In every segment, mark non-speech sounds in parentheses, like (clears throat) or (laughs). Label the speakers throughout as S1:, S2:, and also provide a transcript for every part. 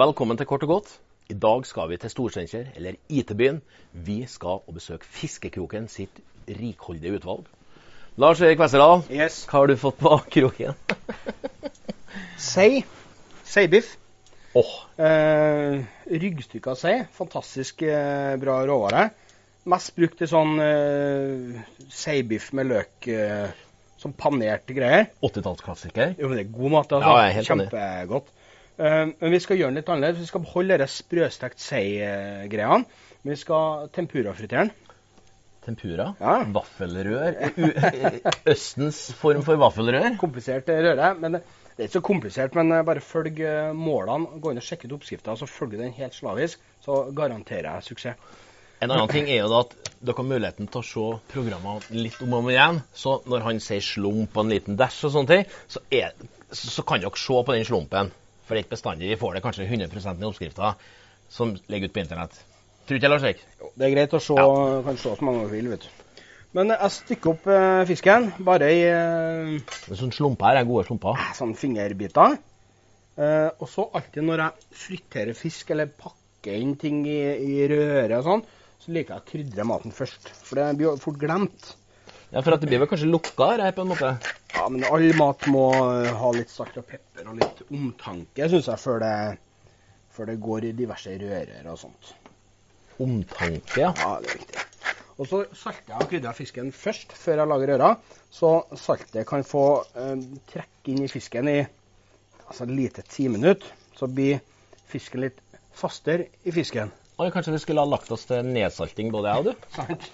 S1: Velkommen til Kort og godt. I dag skal vi til Storsteinkjer, eller IT-byen. Vi skal og besøke Fiskekroken sitt rikholdige utvalg. Lars Erik Westerdal,
S2: Yes.
S1: hva har du fått på kroken?
S2: Sei. Seibiff.
S1: Åh,
S2: Eh, ryggstykke av sei. Fantastisk eh, bra råvare. Mest brukt til sånn eh, seibiff med løk eh, som panerte greier.
S1: 80-tallsklassiker.
S2: Jo, men det er god mat. Altså.
S1: Ja, jeg er helt enig.
S2: Kjempegodt. Eh, men vi skal gjøre den litt annerledes. Vi skal beholde de sprøstekt sei-greiene. Men vi skal tempurafritere den.
S1: Tempura.
S2: Ja.
S1: Vaffelrør. U- (laughs) Østens form for vaffelrør.
S2: Komplisert eh, røre. Men det det er ikke så komplisert, men eh, bare følg eh, målene. Gå inn og sjekk ut oppskrifta, så følger den helt slavisk. Så garanterer jeg suksess.
S1: En annen ting er jo da at dere har muligheten til å se programmene litt om og om igjen. Så når han sier slump og en liten dash og sånne ting, så, er, så så kan dere se på den slumpen. For det er ikke bestandig vi får det kanskje 100 i oppskrifta som ligger ute på internett. Tror ikke jeg, Lars Erik?
S2: Det er greit å se,
S1: Ja.
S2: kan se så mange du vil, vet du. Men eh, jeg stykker opp eh, fisken, bare i eh,
S1: Det er sånn slumper her er gode slumper.
S2: sånn fingerbiter. Eh, og så alltid når jeg friterer fisk eller pakker inn ting i, i røre og sånn, så liker jeg å krydre maten først. For det blir jo fort glemt.
S1: Ja, For at det blir vel kanskje lukka her på en måte?
S2: Ja, men all mat må eh, ha litt salt og pepper og litt omtanke, syns jeg, før det, før det går i diverse rører og sånt.
S1: Omtanke, ja.
S2: Ja, det er viktig. Og så salter jeg og krydrer jeg fisken først, før jeg lager røra. Så saltet kan få eh, trekke inn i fisken i altså, lite ti minutter. Så blir fisken litt fastere i fisken.
S1: Oi, kanskje vi skulle ha lagt oss til nedsalting, både jeg og du?
S2: Sant?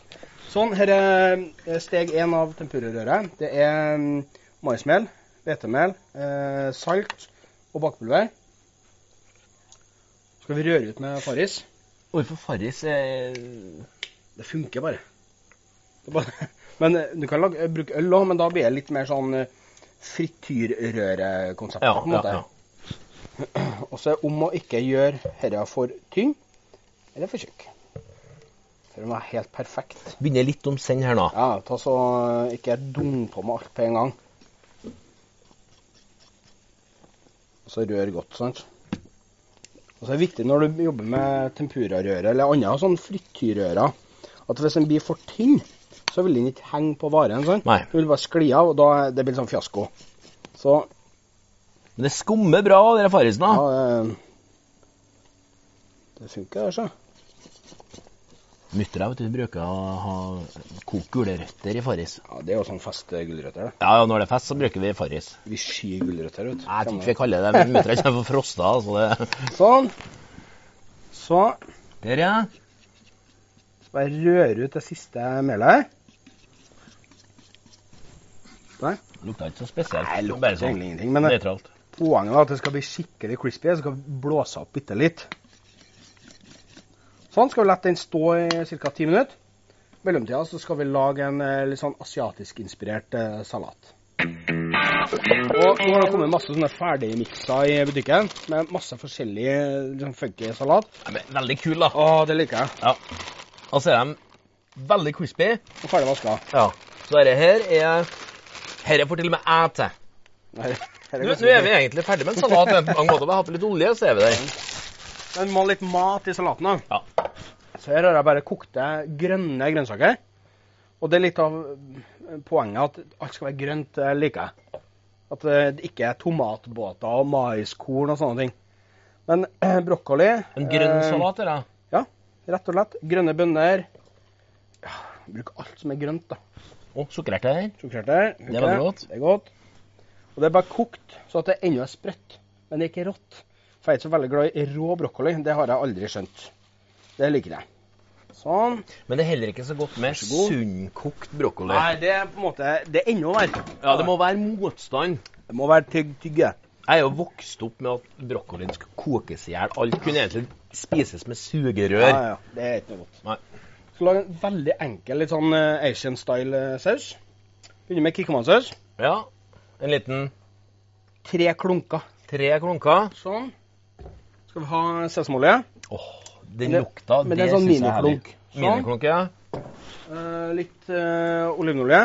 S2: Sånn, her er eh, steg én av tempurrøret. Det er mm, maismel, hvetemel, eh, salt og bakepulver. Så skal vi røre ut med farris.
S1: Hvorfor Farris er
S2: Det funker bare. Det er bare. Men eh, du kan lage, eh, bruke øl òg, men da blir det litt mer sånn eh, frityrrørekonsept.
S1: Ja,
S2: på en
S1: ja,
S2: måte.
S1: ja.
S2: Og så er det om å ikke gjøre dette for tynn eller for tjukk. For den er helt perfekt.
S1: Begynner litt om send her nå.
S2: Ja, ta så eh, ikke dum på med alt på en gang. Og så rør godt, sant. Og så er det viktig når du jobber med tempurarøre eller andre sånn frityrrører, at hvis den blir for tynn, så vil den ikke henge på varen. sant?
S1: Nei.
S2: Den vil bare skli av, og da er- det blir sånn fiasko. Så
S1: Men det skummer bra, den Farrisen. da.
S2: ja, det, det altså. funker, det, sjø.
S1: Muttere vet du, bruker å ha kokt gulrøtter i Farris.
S2: Ja, det er jo sånn feste gulrøtter. det.
S1: Ja, ja, når det er fest, så bruker vi Farris.
S2: Vi skyr gulrøtter ut.
S1: Jeg tror ikke vi kaller det men muttere kommer for frosta. Altså det.
S2: Sånn. Så
S1: Der, ja.
S2: skal jeg røre ut det siste melet.
S1: Lukta ikke så spesielt.
S2: Nei, lukter
S1: Bare sånn
S2: egentlig ingenting, men-
S1: nøytralt.
S2: Poenget er at det skal bli skikkelig crispy. Jeg skal blåse opp bitte litt. Sånn. Skal vi la den stå i ca. 10 minutter. I mellomtida så skal vi lage en eh, litt sånn asiatisk-inspirert eh, salat. Og nå har det kommet masse sånne ferdigmiksa i butikken med masse forskjellig eh, sånn funky salat.
S1: Ja, men Veldig kul, da.
S2: Å, det liker jeg.
S1: Altså er de veldig crispy.
S2: Og ferdig vaska.
S1: Ja. Så dette her er Dette får til og med jeg til.
S2: (laughs) Nå
S1: Nå, nå er vi egentlig ferdig med en salat. men På mange måter. Vi har hatt litt olje, så er vi der.
S2: Men vi må ha litt mat i salaten. da.
S1: Ja.
S2: Så her har jeg bare kokte grønne grønnsaker. Og det er litt av eh, poenget at alt skal være grønt, det liker jeg. At eh, det ikke er tomatbåter og maiskorn og sånne ting. Men eh, brokkoli
S1: En grønn
S2: eh,
S1: salat, er det?
S2: Rett og slett. Grønne bønner. Ja, Bruk alt som er grønt, da.
S1: Å, sukkererter.
S2: Sjokolade.
S1: Det var godt.
S2: Det er godt. Og det er bare kokt, så at det ennå er sprøtt. Men det er ikke rått. For jeg er ikke så veldig glad i rå brokkoli. Det har jeg aldri skjønt. Det liker jeg. Sånn.
S1: Men det er heller ikke så godt med
S2: så god.
S1: sunnkokt brokkoli.
S2: Nei, det er på en måte Det er ennå verre.
S1: Ja, det må være motstand.
S2: Det må være tygg, tygge.
S1: Jeg er jo vokst opp med at brokkolien skulle kokes i hjel. Alt kunne egentlig spises med sugerør.
S2: Ja, ja. Det er ikke noe godt.
S1: Nei.
S2: Skal lage en veldig enkel, litt sånn eh, Asian style eh, saus. Begynner med kikkomansaus.
S1: Ja, En liten
S2: tre klunker.
S1: Tre klunker.
S2: Sånn. Skal vi ha sesamolje?
S1: Åh, den
S2: Men det-
S1: lukta,
S2: men det
S1: det,
S2: er sånn
S1: synes jeg er herlig.
S2: miniklunk. Sånn.
S1: Miniklunk, ja.
S2: Eh, litt eh, olivenolje.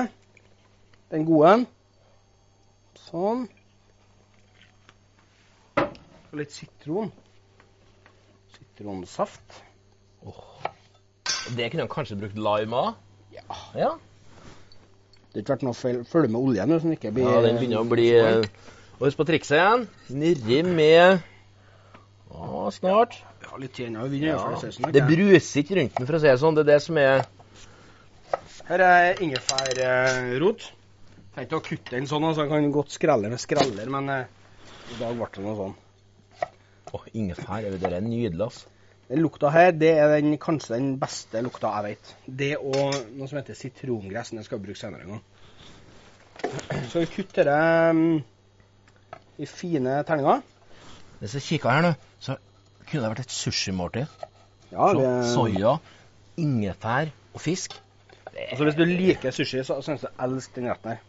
S2: Den gode. Sånn. Og litt sitron. Sitronsaft.
S1: Det kunne han kanskje brukt lime av.
S2: Ja.
S1: Ja.
S2: Det har ikke vært noe feil. Følg med oljen, så den ikke blir
S1: ja, den begynner å bli eh, Og husk på trikset igjen. Nirri med Å, snart.
S2: Ja, litt til ennå. Vi begynner å
S1: Ja.
S2: gjøre ferdig sausen,
S1: Det
S2: ikke?
S1: bruser ikke rundt den, for å si det sånn. Det er det som er
S2: Her er ingefærrot. Tenkte å kutte den sånn, altså. Den kan godt skrelle med skreller, men eh, i dag ble det noe sånn.
S1: Å, ingefær. Det der er nydelig, ass.
S2: Den lukta her, det er den, kanskje den beste lukta jeg vet. Det og noe som heter sitrongress. Den skal vi bruke senere en gang. Så vi kutter det mm, i fine terninger.
S1: Hvis jeg kikker her nå, så kunne det vært et sushimåltid.
S2: Ja,
S1: Så,
S2: det,
S1: Soya, ingefær og fisk. Det
S2: Altså Hvis du liker sushi, så syns du elsker den retten her.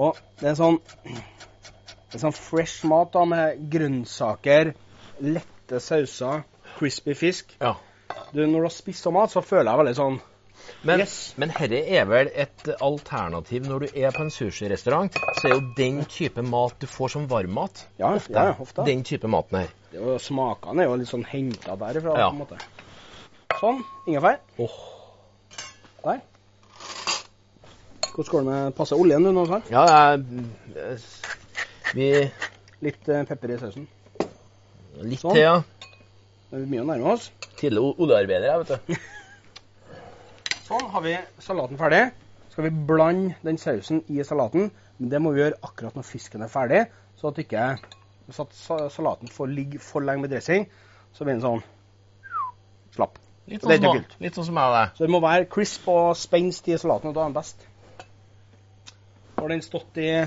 S2: Og det er sånn det er sånn fresh mat da, med grønnsaker, lette sauser, crispy fisk.
S1: Ja.
S2: Du, når du har spist sånn mat, så føler jeg veldig sånn
S1: Men,
S2: Yes.
S1: men herre er vel et alternativ når du er på en sushirestaurant, så er jo den type mat du får som varmmat,
S2: Ja, ja, ofte.
S1: den type maten her.
S2: Det var, smakene er jo litt sånn henta derifra.
S1: Ja.
S2: på en måte. Sånn. Ingefær. Der. Hvordan går det med Passer oljen du nå? Sven?
S1: Ja, jeg, jeg- vi
S2: Litt eh, pepper i sausen.
S1: Litt
S2: Sånn.
S1: til, ja.
S2: Det er mye å nærme oss.
S1: Tidligere o- oljearbeider, jeg,
S2: (laughs)
S1: vet du.
S2: Sånn har vi salaten ferdig. Skal vi blande den sausen i salaten. Men det må vi gjøre akkurat når fisken er ferdig, så at ikke så at sa- salaten får ligge for lenge med dressing. Så blir den sånn slapp.
S1: Litt
S2: Det er
S1: sånn, som-
S2: kult.
S1: litt sånn som jeg det.
S2: Så det må være crisp og spenst i salaten, og da er den best. Nå har den stått i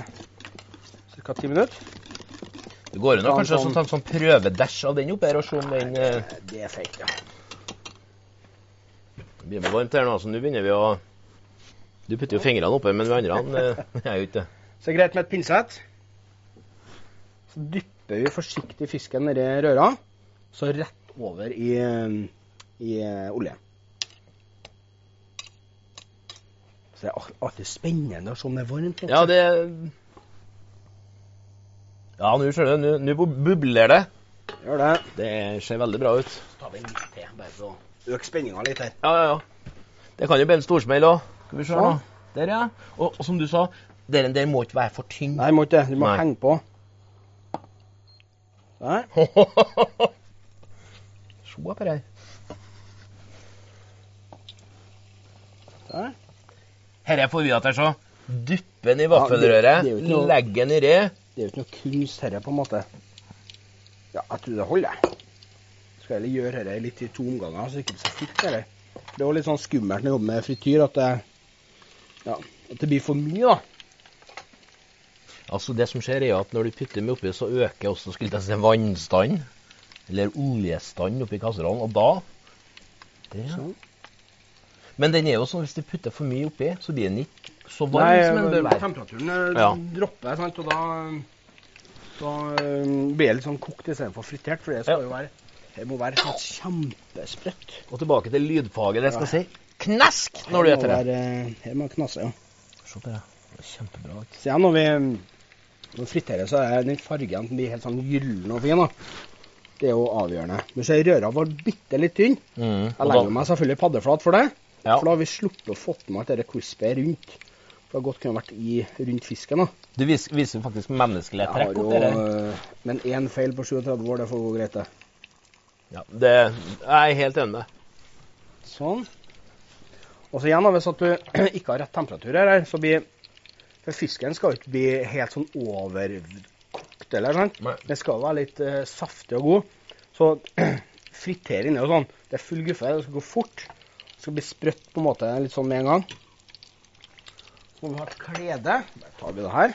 S2: ca. ti minutter.
S1: Det går an å
S2: Sånn
S1: kanskje
S2: som-
S1: også ta en sånn prøvedæsj av den oppi her og se om den eh,
S2: Det er feigt, ja.
S1: Det blir med varmt her nå, så nå begynner vi å Du putter jo fingrene oppi, men vi andre eh, (laughs) er jo ikke det.
S2: Så det er greit med et pinsett. Så dypper vi forsiktig fisken nedi røra, så rett over i, i eh, olje. Så det er al- alltid spennende å se om det er varmt.
S1: Ja, det Ja, nå skjønner du. Nå- Nå bu- bubler det.
S2: Gjør det.
S1: Det ser veldig bra ut.
S2: Så tar vi en litt til, bare for å øke spenninga litt her.
S1: Ja, ja, ja. Det kan jo bli en storsmell òg. Skal vi se her nå.
S2: Sånn.
S1: Der, ja. Og, og som du sa, den der må ikke være for tynn.
S2: Nei, må ikke det. Du må
S1: Nei. (laughs)
S2: henge på. Der.
S1: Se på det her.
S2: Der.
S1: Her er forvirret her, så. Dyppe den i
S2: Ja, det-
S1: vaffelrøret,
S2: det er jo ikke noe-
S1: legge den i red.
S2: Det er jo ikke noe kunst herre, på en måte. Ja, jeg tror det holder, jeg. Skal heller gjøre herre litt i to omganger, så det ikke blir så fort, herre. Det er jo litt sånn skummelt når jeg jobber med frityr, at det, ja, at det blir for mye, da.
S1: Altså Det som skjer, er at når du putter dem oppi, så øker også skulle jeg si, vannstanden. Eller oljestand oppi kasserollen. Og da der, ja.
S2: Sånn.
S1: Men den er jo sånn hvis du putter for mye oppi, så blir den ikke så varm som den bør være.
S2: temperaturen eh,
S1: Ja.
S2: dropper, sant, og da, da øhm, blir det litt sånn kokt istedenfor fritert, for det skal
S1: Ja.
S2: jo være det må være sånn kjempesprøtt.
S1: Og tilbake til lydfaget. Det skal
S2: Ja.
S1: si knask når du
S2: Her må
S1: eter det.
S2: være- Her må knasse, ja.
S1: Se på det. Det er Kjempebra. ikke?
S2: Så ja, når vi når vi friterer, så er den fargen den blir helt sånn gyllen og fin. da. Det er jo avgjørende. Men så er røra vår bitte litt tynn. Jeg
S1: Mm, Og
S2: legger
S1: da,
S2: meg selvfølgelig paddeflat for det,
S1: ja.
S2: for da har vi sluppet å fått med at dette crispy er rundt. For det har godt kunne vært i rundt fisken. da.
S1: Du vis, viser faktisk menneskelig
S2: Jeg
S1: trekk.
S2: har
S1: opp der.
S2: jo, eh, men én feil på 37 år, det får gå greit, det.
S1: Ja, det, jeg er helt enig med deg.
S2: Sånn. Og så igjen, da, hvis at du (clears throat) ikke har rett temperatur her, så blir For fisken skal jo ikke bli helt sånn overkokt, eller sant?
S1: Nei.
S2: Den skal være litt eh, saftig og god. Så (clears throat) fritere inni og sånn. Det er full guffe. Det skal gå fort. Det skal bli sprøtt på en måte litt sånn med en gang. Så må vi ha et klede. Der tar vi det her.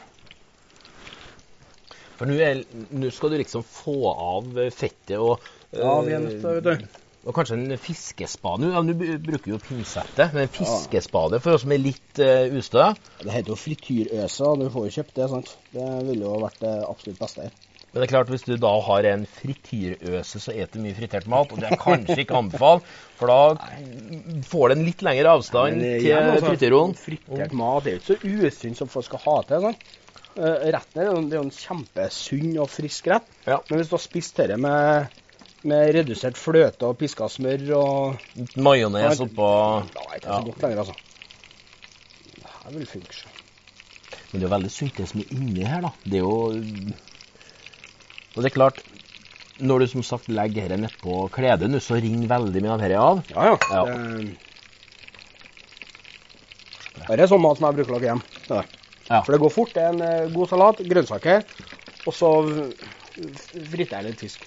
S1: For nå er- nå skal du liksom få av fettet og
S2: Ja, vi er nødt til Eh, det, vet du.
S1: Og kanskje en fiskespade. Ja, Du b- bruker jo pinsettet, men en fiskespade for oss som er litt eh, ustø.
S2: Det heter jo frityrøse, og du får jo kjøpt det, sant. Det ville jo vært det absolutt beste her.
S1: Men det er klart, hvis du da har en frityrøse, så spiser du mye fritert mat. Og det er kanskje ikke anbefalt, for da får du en litt lengre avstand
S2: eh,
S1: til frityrollen.
S2: Fritert altså, mat er jo ikke så usunn som folk skal ha til. Sant? Eh, Retten er jo det er jo en kjempesunn og frisk rett.
S1: Ja.
S2: Men hvis du har spist dette med, med redusert fløte og piska smør og
S1: Litt Majones oppå
S2: Da er det ikke
S1: Ja.
S2: så godt lenger, altså. Det her vil funke. sjø.
S1: Men det er jo veldig sunt det som er inni her, da. Det er jo Og det er klart, når du som sagt legger dette nedpå kledet nå, så ringer veldig mye av dette av.
S2: Ja, ja.
S1: Ja.
S2: Det, det er sånn mat som jeg bruker å lage hjemme. Det der.
S1: Ja.
S2: For det går fort. Det er en eh, god salat, grønnsaker, og så f- friter jeg litt fisk.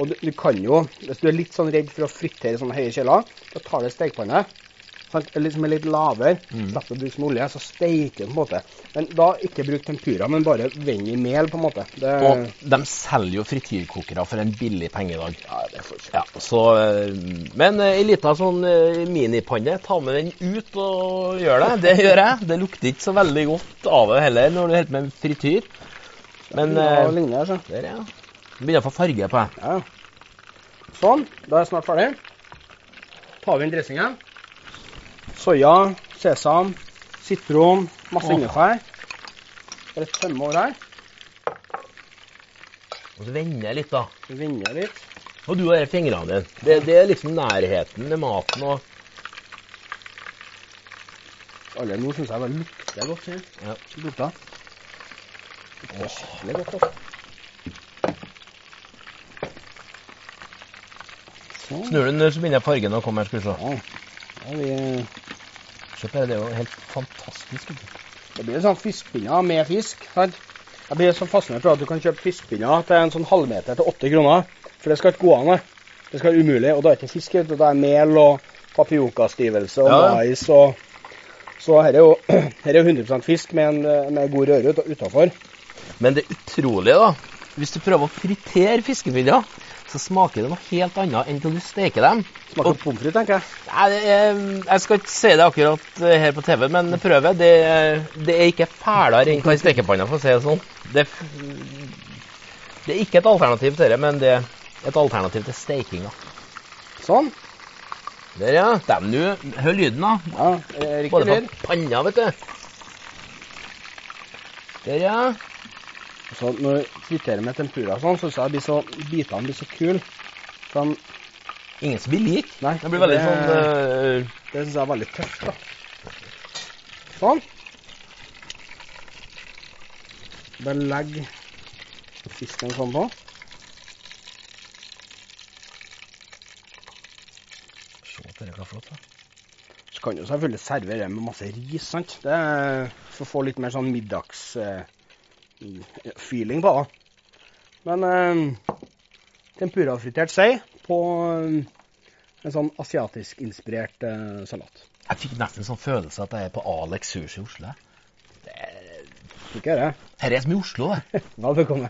S2: Og du, du kan jo, hvis du er litt sånn redd for å fritere i sånne høye kjeler, da tar du stekepanne. sant, eller Som er litt lavere,
S1: Mm.
S2: slipper å bruke som olje, så steiker det på en måte. Men da ikke bruk tempura, men bare vend i mel, på en måte. Det,
S1: Og de selger jo frityrkokere for en billig penge i dag.
S2: ja, det får ikke.
S1: Ja, så, eh, men eh, ei lita sånn eh, minipanne, ta med den ut og gjør det. Det gjør jeg. Det lukter ikke så veldig godt av det heller når du holder på med frityr. Men
S2: Ja,
S1: eh,
S2: lignende, altså.
S1: der, ja. Begynner å få farge på det.
S2: Ja. Sånn, da er jeg snart ferdig. Tar vi inn dressingen. Soya, sesam, sitron, masse
S1: Åh.
S2: ingefær. Bare tømme over her.
S1: Og så vender jeg litt, da.
S2: Vende litt.
S1: Og du har fingrene dine. Det, det er liksom nærheten med maten og
S2: Allerede nå syns jeg det lukter godt. sier jeg.
S1: Ja.
S2: Det lukter. Det er skikkelig godt. altså. Sånn.
S1: Snur du den, så begynner fargen å komme her. Skal vi se.
S2: Ja. Ja, vi,
S1: Se på det, det er jo helt fantastisk. vet du.
S2: det blir sånn fiskepinner med fisk. Sant? Jeg blir så fascinert av at du kan kjøpe fiskepinner til en sånn halvmeter til åtte kroner. For det skal ikke gå an. det. Det skal være umulig. Og da er det ikke fisk, vet du. da er mel og papiokastivelse og
S1: Ja.
S2: mais og Så her er jo, (clears throat) her er jo 100 fisk med, en, eh, med god røre ut- utafor.
S1: Men det utrolige, da. Hvis du prøver å fritere fiskepinner, så smaker det noe helt annet enn når du steker dem.
S2: Smaker
S1: Og-
S2: pommes frites, tenker jeg.
S1: Nei, det er, jeg skal ikke si det akkurat eh, her på TV, men prøv det. Det er- Det er ikke fælere enn hva i stekepanna, for å si det sånn. Det, er f- det er ikke et alternativ til det, men det er et alternativ til stekinga.
S2: Sånn.
S1: Der, ja. Dem nå. Hør lyden, da.
S2: Ja, eh,
S1: Både
S2: Riktig
S1: fra
S2: lyd.
S1: panna, vet du. Der, ja.
S2: Så når du friterer med tempura og sånn, så syns jeg det blir så, bitene blir så kule. For de-
S1: Ingen som blir lik.
S2: Nei,
S1: Det blir veldig
S2: det-
S1: sånn eh,
S2: Det syns jeg er veldig tøft, da. Sånn. Bare legg fisken sånn på.
S1: Se på dette, hva flott, da.
S2: Så kan du selvfølgelig servere med masse ris, sant. Det er For å få litt mer sånn middagsfeeling på det. Men eh, tempurafritert sei på eh, en sånn asiatisk-inspirert eh, salat.
S1: Jeg fikk nesten sånn følelse at jeg er på Alex Sushi i Oslo. jeg.
S2: Skal ikke gjøre det.
S1: Her er som i Oslo, det.
S2: Velbekomme.